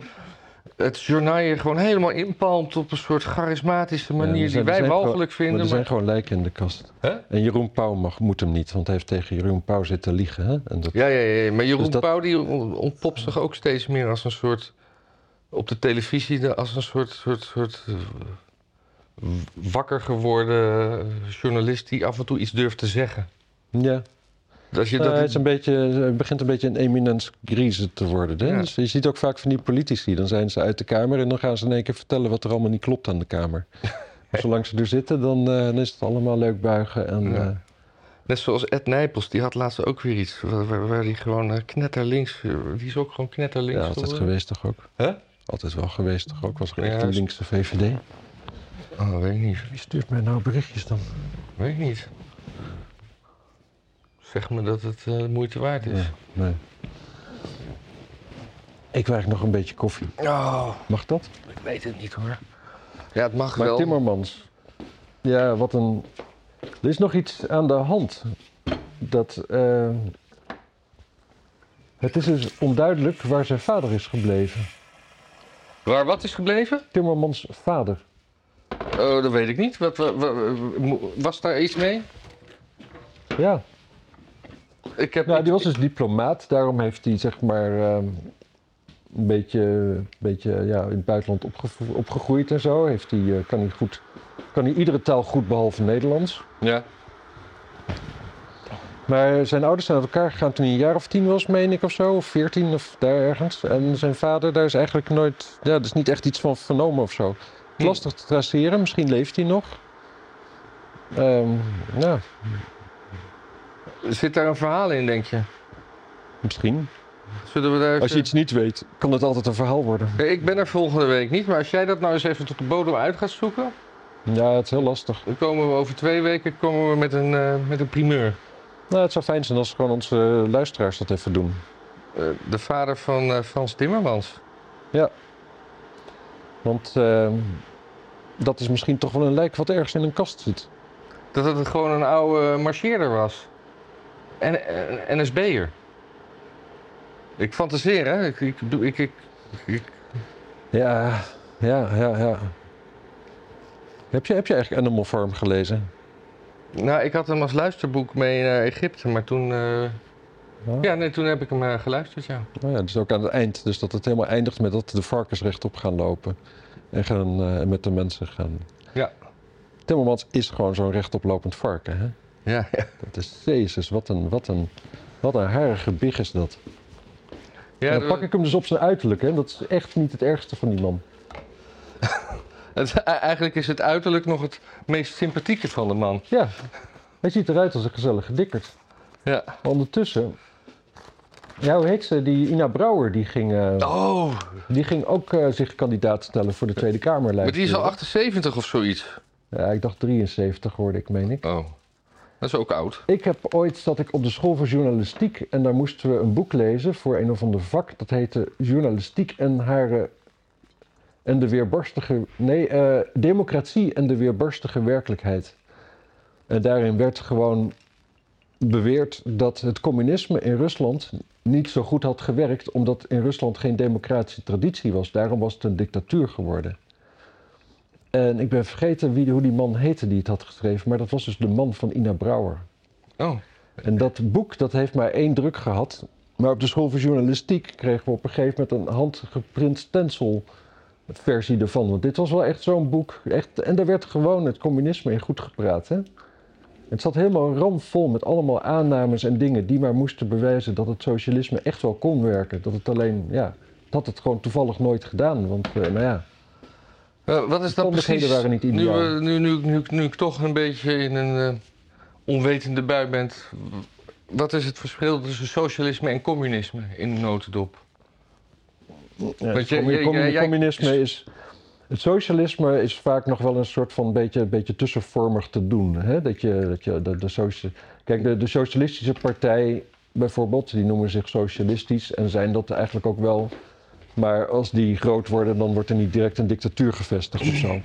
het journaal gewoon helemaal inpalmt op een soort charismatische
Ja, Eh, er
manier
zijn- er
die wij
zijn gewoon-
walgelijk
Maar
vinden.
er zijn
Maar,
gewoon lijken in de kast.
Hè?
En Jeroen Pauw mag, moet hem niet, want hij heeft tegen Jeroen Pauw zitten liegen. Hè? En dat,
ja, ja, ja, ja, maar Jeroen
Dus dat-
Pauw die on- ontpopt zich ook steeds meer als een soort, op de televisie, de- als een soort, soort, soort eh, w- wakker geworden journalist die af en toe iets durft te zeggen.
ja.
Als je
Nou,
dat,
hij is een beetje, hij begint een beetje een eminence grieze te worden. Hè?
Ja.
Dus je ziet ook vaak van die politici, dan zijn ze uit de Kamer en dan gaan ze in één keer vertellen wat er allemaal niet klopt aan de Kamer. Maar Zolang ze er zitten, dan, eh, dan is het allemaal leuk buigen. En,
Ja.
eh,
Net zoals Ed Nijpels, die had laatst ook weer iets waar, waar, waar die gewoon eh, knetterlinks, eh, die is ook gewoon knetterlinks.
ja, altijd
geworden.
geweest toch ook.
Hè?
Altijd wel geweest toch ook. Was er
Ja,
echt een
is-
linkse VVD.
Oh, weet ik niet,
Wie stuurt mij nou berichtjes dan?
weet ik niet. Zeg me dat het eh, de moeite waard is.
Nee. Ik krijg nog een beetje koffie.
Oh,
Mag dat?
ik weet het niet hoor. Ja, het mag
Maar
wel.
Timmermans. Ja, wat een. Er is nog iets aan de hand. Dat. eh, het is dus onduidelijk waar zijn vader is gebleven.
Waar wat is gebleven?
Timmermans vader.
Oh, dat weet ik niet. Wat, wa- wa- mo- was daar iets mee?
Ja,
Ik heb
nou,
niet-
die was dus diplomaat. Daarom heeft hij zeg maar. eh, een beetje, een beetje ja, in het buitenland opgevo- opgegroeid en zo. Heeft hij, eh, kan, hij goed, kan hij iedere taal goed behalve Nederlands.
Ja.
Maar zijn ouders zijn uit elkaar gegaan toen hij een jaar of tien was, meen ik of zo. Of veertien of daar ergens. En zijn vader, daar is eigenlijk nooit. Ja, er is niet echt iets van vernomen of zo.
Hm.
Lastig te traceren, misschien leeft hij nog. Ehm, ja,
Zit daar een verhaal in, denk je?
misschien.
Zullen we daar
Als je
even-
iets niet weet, kan het altijd een verhaal worden.
Hey, Ik ben er volgende week niet, maar als jij dat nou eens even tot de bodem uit gaat zoeken...
Ja, het is heel lastig.
Dan komen we over twee weken komen we met een, eh, met een primeur.
Nou, het zou fijn zijn als gewoon onze eh, luisteraars dat even doen.
Eh, de vader van eh, Frans Timmermans.
Want ehm, dat is misschien toch wel een lijk wat ergens in een kast zit.
Dat het gewoon een oude marcheerder was. En eh, een NSB'er. Ik fantaseer, hè? Ik, ik, doe- ik, ik, ik-
Ja, ja, ja, ja. Heb je, heb je eigenlijk Animal Farm gelezen?
nou, ik had hem als luisterboek mee naar Egypte, maar toen... eh, ja, nee, toen heb ik hem eh, geluisterd, ja.
Nou ja, dus ook aan het eind. Dus dat het helemaal eindigt met dat de varkens rechtop gaan lopen. En gaan, eh, met de mensen gaan.
Ja.
Timmermans is gewoon zo'n rechtoplopend varken. Hè?
Ja, ja.
Dat is, jezus, wat een, wat een, wat een harige big is dat. en
ja
dan pak ik hem dus op zijn uiterlijk. Hè? Dat is echt niet het ergste van die man.
het- eh, eigenlijk is het uiterlijk nog het meest sympathieke van de man.
Ja, hij ziet eruit als een gezellige dikkerd.
Ja.
Maar ondertussen... Ja, hoe heet ze? Die Ina Brouwer, die ging, eh,
Oh,
die ging ook eh, zich kandidaat stellen voor de Tweede Kamer.
maar
lijkt
die is
me.
al 78 of zoiets.
Ja, ik dacht 73 hoorde ik, meen ik.
Oh, dat is ook oud.
Ik heb ooit zat ik op de school voor journalistiek en daar moesten we een boek lezen voor een of ander vak. Dat heette Journalistiek en haar en de weerbarstige nee eh, democratie en de weerbarstige werkelijkheid. En daarin werd gewoon beweerd dat het communisme in Rusland niet zo goed had gewerkt omdat in Rusland geen democratische traditie was. Daarom was het een dictatuur geworden. En ik ben vergeten wie, hoe die man heette die het had geschreven, maar dat was dus de man van Ina Brouwer.
Oh,
En dat boek dat heeft maar één druk gehad. Maar op de school voor journalistiek kregen we op een gegeven moment een handgeprint stencil versie ervan. Want dit was wel echt zo'n boek. Echt, en daar werd gewoon het communisme in goed gepraat. Hè? Het zat helemaal ramvol met allemaal aannames en dingen die maar moesten bewijzen dat het socialisme echt wel kon werken. Dat het alleen, ja, dat het gewoon toevallig nooit gedaan. Want, eh, nou ja,
Eh, wat is dat
omstandigheden
precies?
waren niet
nu,
ideaal.
we- nu, nu, nu, nu ik toch een beetje in een eh, onwetende bui ben. w- Wat is het verschil tussen socialisme en communisme in de notendop?
Ja,
Want je-
commu-
je-
commu-
jij- jij-
communisme is. Het socialisme is vaak nog wel een soort van beetje, beetje tussenvormig te doen. Hè? Dat je, dat je de, de socia- Kijk, de, de Socialistische Partij bijvoorbeeld, die noemen zich socialistisch en zijn dat eigenlijk ook wel. Maar als die groot worden, dan wordt er niet direct een dictatuur gevestigd of zo.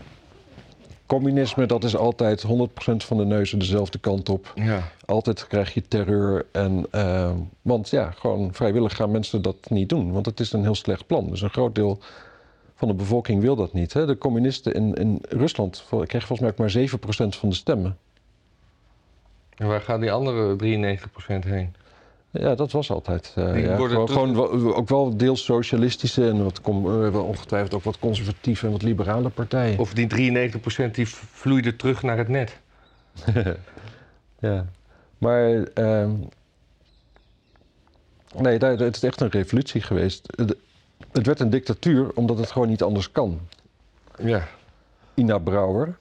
Communisme, dat is altijd 100% van de neuzen dezelfde kant op.
Ja.
Altijd krijg je terreur. En, eh, want ja, gewoon vrijwillig gaan mensen dat niet doen. Want het is een heel slecht plan. Dus een groot deel van de bevolking wil dat niet. Hè? De communisten in, in Rusland vol- kregen volgens mij ook maar 7% van de stemmen.
En waar gaat die andere 93% heen?
Ja, dat was altijd. eh,
Die
ja,
worden
gewoon,
terug-
gewoon wel- ook wel deels socialistische en wat com- eh, wel ongetwijfeld ook wat conservatieve en wat liberale partijen.
Of die 93% die v- vloeide terug naar het net?
Ja, maar ehm, nee, daar, het is echt een revolutie geweest. Het, het werd een dictatuur omdat het gewoon niet anders kan.
Ja.
Ina Brouwer,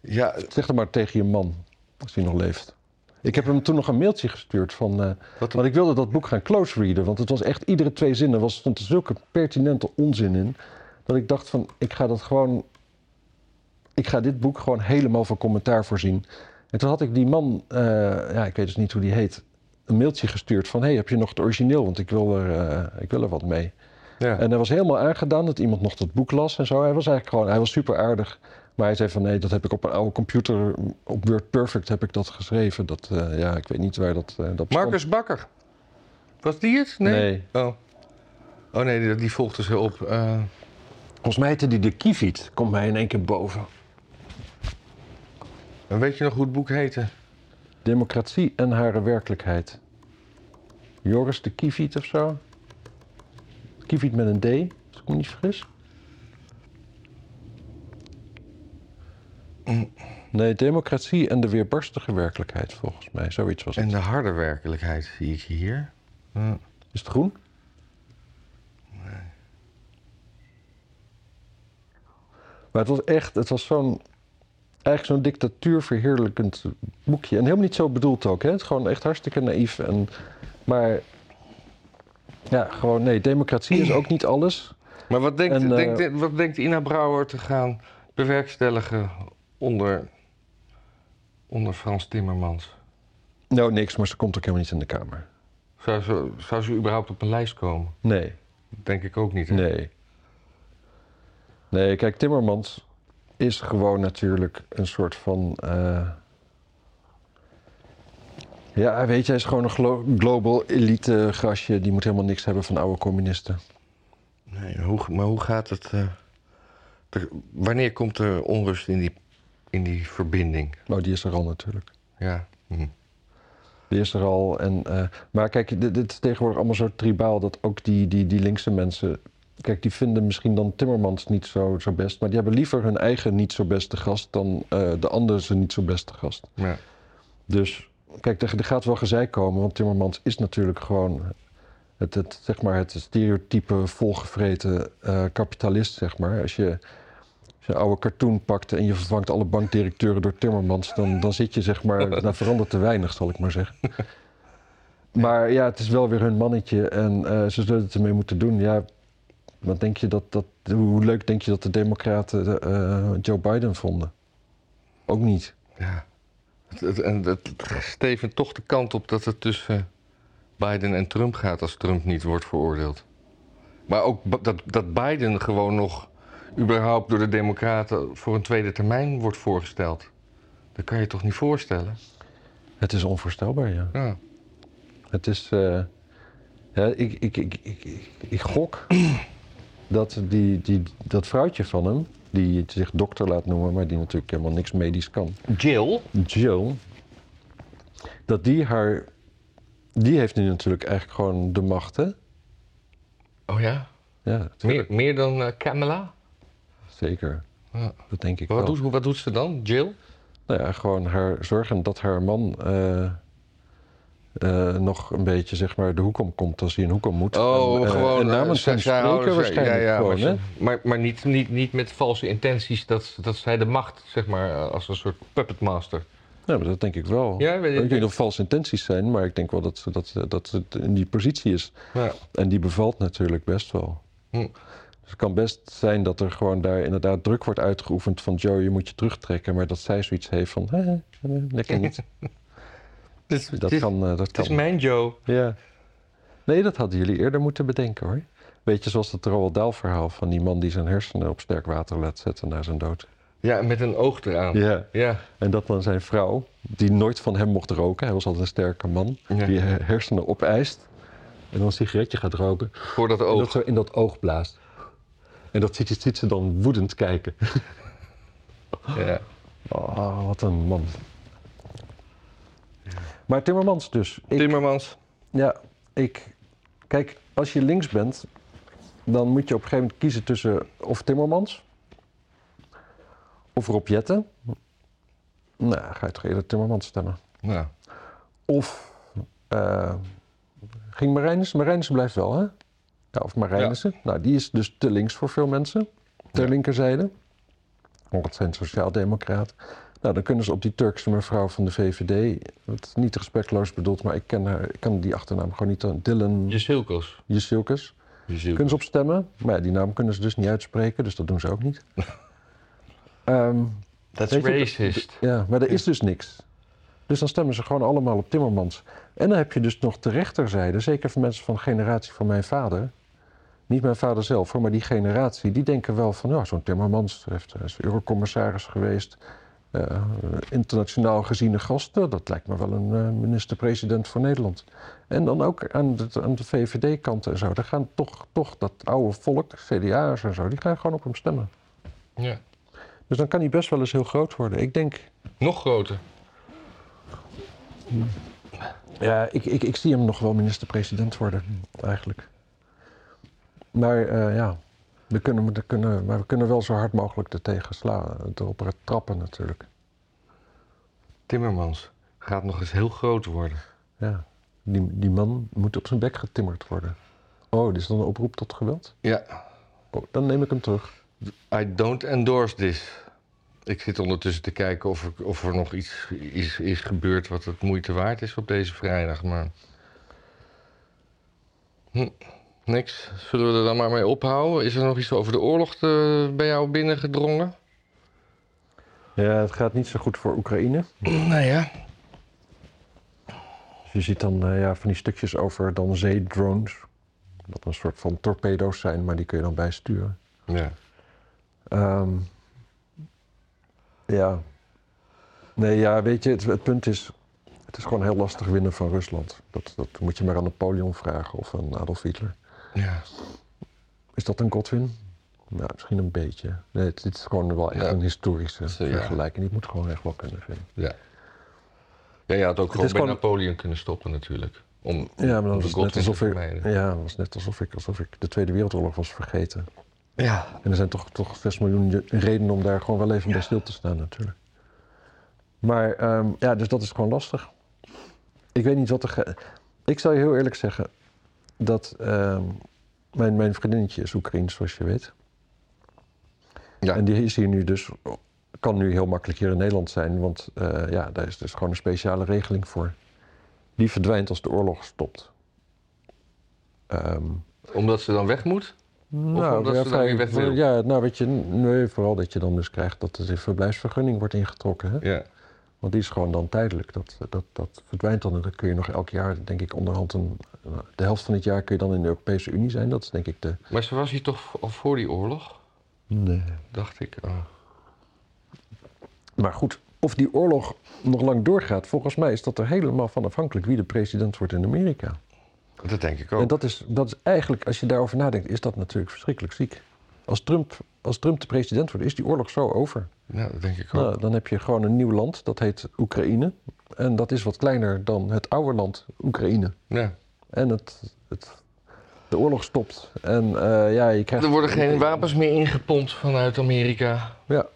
Ja,
zeg dat maar tegen je man als hij nog leeft. Ik heb hem toen nog een mailtje gestuurd van, eh,
Wat
want ik wilde dat boek gaan close readen, want het was echt iedere twee zinnen was stond er zulke pertinente onzin in dat ik dacht van ik ga dat gewoon, ik ga dit boek gewoon helemaal van commentaar voorzien. En toen had ik die man, eh, ja ik weet dus niet hoe die heet, een mailtje gestuurd van hey heb je nog het origineel, want ik wil er, eh, ik wil er wat mee.
ja.
En hij was helemaal aangedaan dat iemand nog dat boek las en zo. Hij was eigenlijk gewoon, hij was super aardig. Maar hij zei van nee, dat heb ik op een oude computer, op Word Perfect heb ik dat geschreven. Dat, eh, ja, ik weet niet waar dat, eh dat bestond.
Marcus Bakker. Was die het? Nee. Oh. Oh nee, die, die volgt dus heel op. Eh,
Volgens mij heette die de Kieviet. Komt mij in één keer boven.
en weet je nog hoe het boek heette?
Democratie en haar werkelijkheid. Joris de Kieviet of zo. Kieviet met een D, als ik me niet vergis. Nee, democratie en de weerbarstige werkelijkheid, volgens mij. Zoiets was het.
En de harde werkelijkheid zie ik hier. Ja.
Is het groen? Nee. Maar het was echt, het was zo'n, eigenlijk zo'n dictatuurverheerlijkend boekje. En helemaal niet zo bedoeld ook, hè. Het is gewoon echt hartstikke naïef. En, maar, ja, gewoon nee, democratie is ook niet alles.
Maar wat denkt,
En, eh,
denkt- wat denkt Ina Brouwer te gaan bewerkstelligen onder, onder Frans Timmermans?
Nou, niks, maar ze komt ook helemaal niet in de Kamer.
Zou ze, zou ze überhaupt op een lijst komen?
Nee,
Dat denk ik ook niet. hè?
nee. Nee, kijk, Timmermans is gewoon natuurlijk een soort van... eh, Ja, weet je, hij is gewoon een glo- global elite grasje. Die moet helemaal niks hebben van oude communisten.
Nee, hoe, maar hoe gaat het... eh, er- wanneer komt er onrust in die, in die verbinding?
Nou, die is er al natuurlijk.
Ja. Hm.
Die is er al. En, eh, maar kijk, dit, dit is tegenwoordig allemaal zo tribaal dat ook die, die, die linkse mensen... Kijk, die vinden misschien dan Timmermans niet zo, zo best. Maar die hebben liever hun eigen niet zo beste gast dan eh, de andere zijn niet zo beste gast.
Ja.
Dus kijk, er, er gaat wel gezeik komen, want Timmermans is natuurlijk gewoon het, het, zeg maar het stereotype volgevreten eh, kapitalist, zeg maar. Als je, als je een oude cartoon pakt en je vervangt alle bankdirecteuren door Timmermans, dan, dan zit je zeg maar, nou verandert te weinig, zal ik maar zeggen. Maar ja, het is wel weer hun mannetje en eh, ze zullen het ermee moeten doen. Ja, wat denk je dat, dat, hoe leuk denk je dat de Democraten eh, Joe Biden vonden? Ook niet.
Ja. Het, het, en het, het stevend toch de kant op dat het tussen Biden en Trump gaat als Trump niet wordt veroordeeld. Maar ook ba- dat, dat Biden gewoon nog überhaupt door de Democraten voor een tweede termijn wordt voorgesteld. Dat kan je toch niet voorstellen?
Het is onvoorstelbaar, ja.
Ja.
Het is. eh, ja, ik, ik, ik, ik, ik, ik gok dat die, die, dat vrouwtje van hem, die zich dokter laat noemen, maar die natuurlijk helemaal niks medisch kan.
Jill?
Jill. dat die haar. Die heeft nu natuurlijk eigenlijk gewoon de macht, hè?
Oh ja?
Ja,
Meer, meer dan eh, Kamala?
zeker.
Ja.
Dat denk ik
Wat
wel.
doet, wat doet ze dan? Jill?
Nou ja, gewoon haar zorgen dat haar man eh, eh, nog een beetje zeg maar de hoek om komt als hij een hoek om moet.
Oh,
En, eh,
gewoon
en namens
zij-
hem
zij houden
spreken
ze-
waarschijnlijk
ja, ja,
gewoon,
maar,
hè?
ze- maar, maar niet, niet, niet met valse intenties dat, ze- dat zij de macht, zeg maar, eh, als een soort puppetmaster.
Ja, maar dat denk ik wel.
Ja, weet je-
ik weet niet of valse intenties zijn, maar ik denk wel dat, ze- dat, ze- dat het in die positie is.
Ja.
En die bevalt natuurlijk best wel.
Hm.
Dus het kan best zijn dat er gewoon daar inderdaad druk wordt uitgeoefend van Joe, je moet je terugtrekken. Maar dat zij zoiets heeft van, hè, hè, lekker niet.
Dit,
Dat
dit-
kan, eh, dat
Het is
kan.
mijn Joe.
Ja. Nee, dat hadden jullie eerder moeten bedenken hoor. Weet je, zoals dat Roald Dahl verhaal van die man die zijn hersenen op sterk water laat zetten na zijn dood.
Ja, met een oog eraan. Ja.
Ja. En dat dan zijn vrouw, die nooit van hem mocht roken, hij was altijd een sterke man,
Ja.
die her- hersenen opeist en dan een sigaretje gaat roken
voor dat
en dat
oog.
zo in dat oog blaast. En dat ziet, ziet ze dan woedend kijken.
Ja.
Oh, wat een man. Maar Timmermans dus. Ik-
Timmermans.
Ja, ik. Kijk, als je links bent, dan moet je op een gegeven moment kiezen tussen of Timmermans of Rob Jetten. Nou, ga je toch eerder Timmermans stemmen.
Nou,
Of eh, ging Marijnissen? Marijnissen blijft wel, hè? Ja, of Marijnissen. Nou, die is dus te links voor veel mensen. Ter
Ja.
linkerzijde. Want het zijn sociaaldemocraten. Nou, dan kunnen ze op die Turkse mevrouw van de VVD... wat niet respectloos bedoeld, maar ik ken, haar, ik kan die achternaam gewoon niet... eh, Dylan
Jezilkos.
Jezilkes. Kunnen ze op stemmen. Maar ja, die naam kunnen ze dus niet uitspreken, dus dat doen ze ook niet. Ehm,
Dat
Weet
is
je,
racist.
ja, maar er is dus niks. Dus dan stemmen ze gewoon allemaal op Timmermans. En dan heb je dus nog de rechterzijde, zeker voor mensen van de generatie van mijn vader. Niet mijn vader zelf, hoor, maar die generatie, die denken wel van, nou, zo'n Timmermans heeft, hij is eurocommissaris geweest, eh, internationaal geziene gasten, dat lijkt me wel een eh, minister-president voor Nederland. En dan ook aan de, aan de VVD-kant en zo, daar gaan toch, toch dat oude volk, CDA'ers en zo, die gaan gewoon op hem stemmen.
Ja.
Dus dan kan hij best wel eens heel groot worden. Ik denk,
Nog groter.
Ja, ik, ik, ik zie hem nog wel minister-president worden, eigenlijk. Maar eh, ja, we kunnen, we, kunnen, maar we kunnen wel zo hard mogelijk er tegen slaan, erop trappen natuurlijk.
Timmermans gaat nog eens heel groot worden.
Ja, die, die man moet op zijn bek getimmerd worden. Oh, dit is dan een oproep tot geweld?
Ja.
Oh, dan neem ik hem terug.
I don't endorse this. Ik zit ondertussen te kijken of er, of er nog iets is, is gebeurd wat het moeite waard is op deze vrijdag, maar... Hm, niks. Zullen we er dan maar mee ophouden? Is er nog iets over de oorlog eh, bij jou binnengedrongen?
Ja, het gaat niet zo goed voor Oekraïne.
Nou ja.
Dus je ziet dan eh, ja, van die stukjes over dan zeedrones. Dat een soort van torpedo's zijn, maar die kun je dan bijsturen.
Ja.
Ehm, ja. Nee, ja, weet je, het, het punt is... Het is gewoon heel lastig winnen van Rusland. Dat, dat moet je maar aan Napoleon vragen of aan Adolf Hitler.
Ja.
Is dat een Godwin? Nou, misschien een beetje. Nee, het, dit is gewoon wel echt
Ja.
een historische
Zo, ja.
vergelijking. Die moet gewoon echt wel kunnen vinden.
Ja. Ja, je had ook gewoon
is
bij
gewoon-
Napoleon kunnen stoppen natuurlijk. Om, om
Ja, maar
de
dan was het
Godwin
net
te
alsof ik,
vermijden.
ja, dat was net alsof ik, alsof ik de Tweede Wereldoorlog was vergeten.
Ja.
En er zijn toch, toch 6 miljoen je- redenen om daar gewoon wel even bij stil te staan natuurlijk. Maar ehm, ja, dus dat is gewoon lastig. Ik weet niet wat er... ge- Ik zal je heel eerlijk zeggen dat ehm, mijn, mijn vriendinnetje is Oekraïens, zoals je weet.
Ja.
En die is hier nu dus... Kan nu heel makkelijk hier in Nederland zijn, want eh, ja, daar is dus gewoon een speciale regeling voor. Die verdwijnt als de oorlog stopt. Ehm,
Omdat ze dan weg moet? omdat ze dan
vrij-
weer weg wil?
Ja, nou weet je, nee, vooral dat je dan dus krijgt dat de verblijfsvergunning wordt ingetrokken. Hè?
Ja.
Want die is gewoon dan tijdelijk. Dat, dat, dat verdwijnt dan en dan kun je nog elk jaar, denk ik, onderhand een, de helft van het jaar kun je dan in de Europese Unie zijn. Dat is denk ik de...
Maar ze was hier toch al voor die oorlog?
Nee.
Dacht ik. Ah.
Maar goed, of die oorlog nog lang doorgaat, volgens mij is dat er helemaal van afhankelijk wie de president wordt in Amerika.
Dat denk ik ook.
En dat is, dat is eigenlijk, als je daarover nadenkt, is dat natuurlijk verschrikkelijk ziek. Als Trump, als Trump de president wordt, is die oorlog zo over.
Ja, dat denk ik ook.
Nou, dan heb je gewoon een nieuw land, dat heet Oekraïne. En dat is wat kleiner dan het oude land Oekraïne.
Ja.
En het, het, de oorlog stopt. En eh, ja, je krijgt...
Er worden geen wapens meer ingepompt vanuit Amerika.
Ja.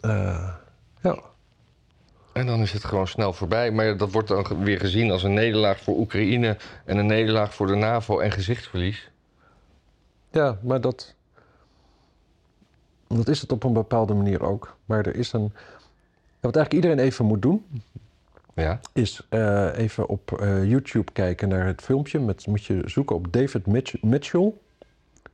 Eh, ja.
En dan is het gewoon snel voorbij. Maar dat wordt dan ge- weer gezien als een nederlaag voor Oekraïne en een nederlaag voor de NAVO en gezichtsverlies.
Ja, maar dat, dat is het op een bepaalde manier ook. Maar er is een. ja, wat eigenlijk iedereen even moet doen,
Ja.
is eh, even op eh, YouTube kijken naar het filmpje. Met, moet je zoeken op David Mitch- Mitchell.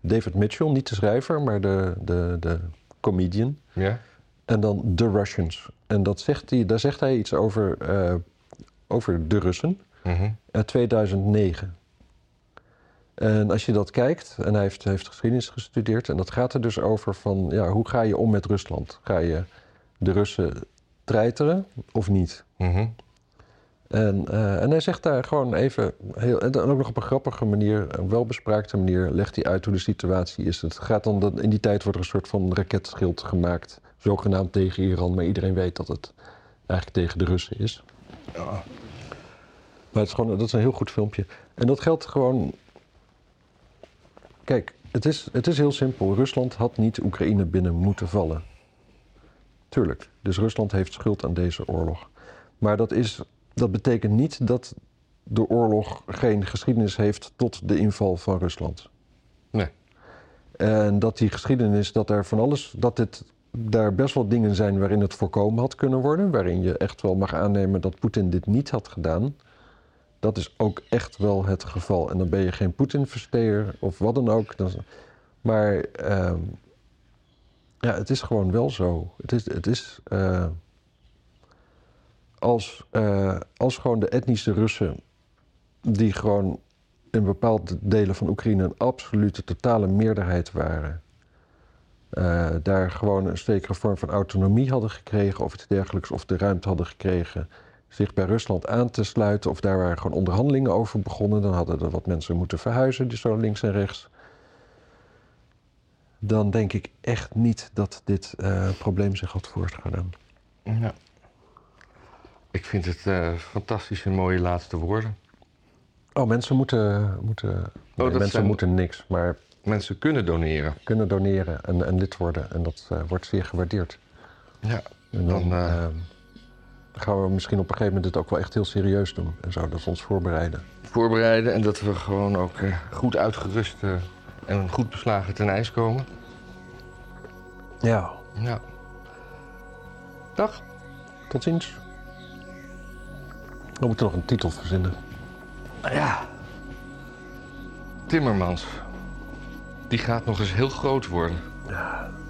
David Mitchell, niet de schrijver, maar de, de, de comedian.
Ja.
En dan The Russians. En dat zegt hij, daar zegt hij iets over, eh, over de Russen
Mhm.
uit 2009. eh, En als je dat kijkt, en hij heeft, heeft geschiedenis gestudeerd, en dat gaat er dus over van ja, hoe ga je om met Rusland? Ga je de Russen treiteren of niet?
Mhm.
En, eh, en hij zegt daar gewoon even, heel, en dan ook nog op een grappige manier, een welbespraakte manier, legt hij uit hoe de situatie is. Het gaat dan, dat- in die tijd wordt er een soort van raketschild gemaakt, zogenaamd tegen Iran, maar iedereen weet dat het eigenlijk tegen de Russen is. Maar het is gewoon, dat is een heel goed filmpje. En dat geldt gewoon. Kijk, het is, het is heel simpel. Rusland had niet Oekraïne binnen moeten vallen. Tuurlijk. Dus Rusland heeft schuld aan deze oorlog. Maar dat, is, dat betekent niet dat de oorlog geen geschiedenis heeft tot de inval van Rusland.
Nee.
En dat die geschiedenis, dat er van alles, dat dit, daar best wel dingen zijn waarin het voorkomen had kunnen worden. Waarin je echt wel mag aannemen dat Poetin dit niet had gedaan. Dat is ook echt wel het geval. En dan ben je geen Poetin-versteer of wat dan ook. Dan- Maar ehm, ja, het is gewoon wel zo. Het is, het is eh, als, eh, als gewoon de etnische Russen, die gewoon in bepaalde delen van Oekraïne een absolute totale meerderheid waren. eh, daar gewoon een zekere vorm van autonomie hadden gekregen of iets dergelijks, of de ruimte hadden gekregen zich bij Rusland aan te sluiten, of daar waren gewoon onderhandelingen over begonnen, dan hadden er wat mensen moeten verhuizen, dus zo links en rechts. Dan denk ik echt niet dat dit eh, probleem zich had voortgedaan.
Ja. Ik vind het eh fantastische mooie laatste woorden.
Oh, mensen moeten, moeten, nee,
Oh, dat
mensen
zijn-
moeten niks, maar
Mensen kunnen doneren. kunnen
kunnen doneren en, en lid worden. En dat eh, wordt zeer gewaardeerd.
Ja.
En dan
Dan, eh,
ehm, gaan we misschien op een gegeven moment dit ook wel echt heel serieus doen. En zouden we ons voorbereiden.
Voorbereiden en dat we gewoon ook eh, goed uitgerust eh, en goed beslagen ten ijs komen.
Ja,
Ja. Dag.
tot ziens. We moeten nog een titel verzinnen.
Ja. Timmermans. Die gaat nog eens heel groot worden.
Ja,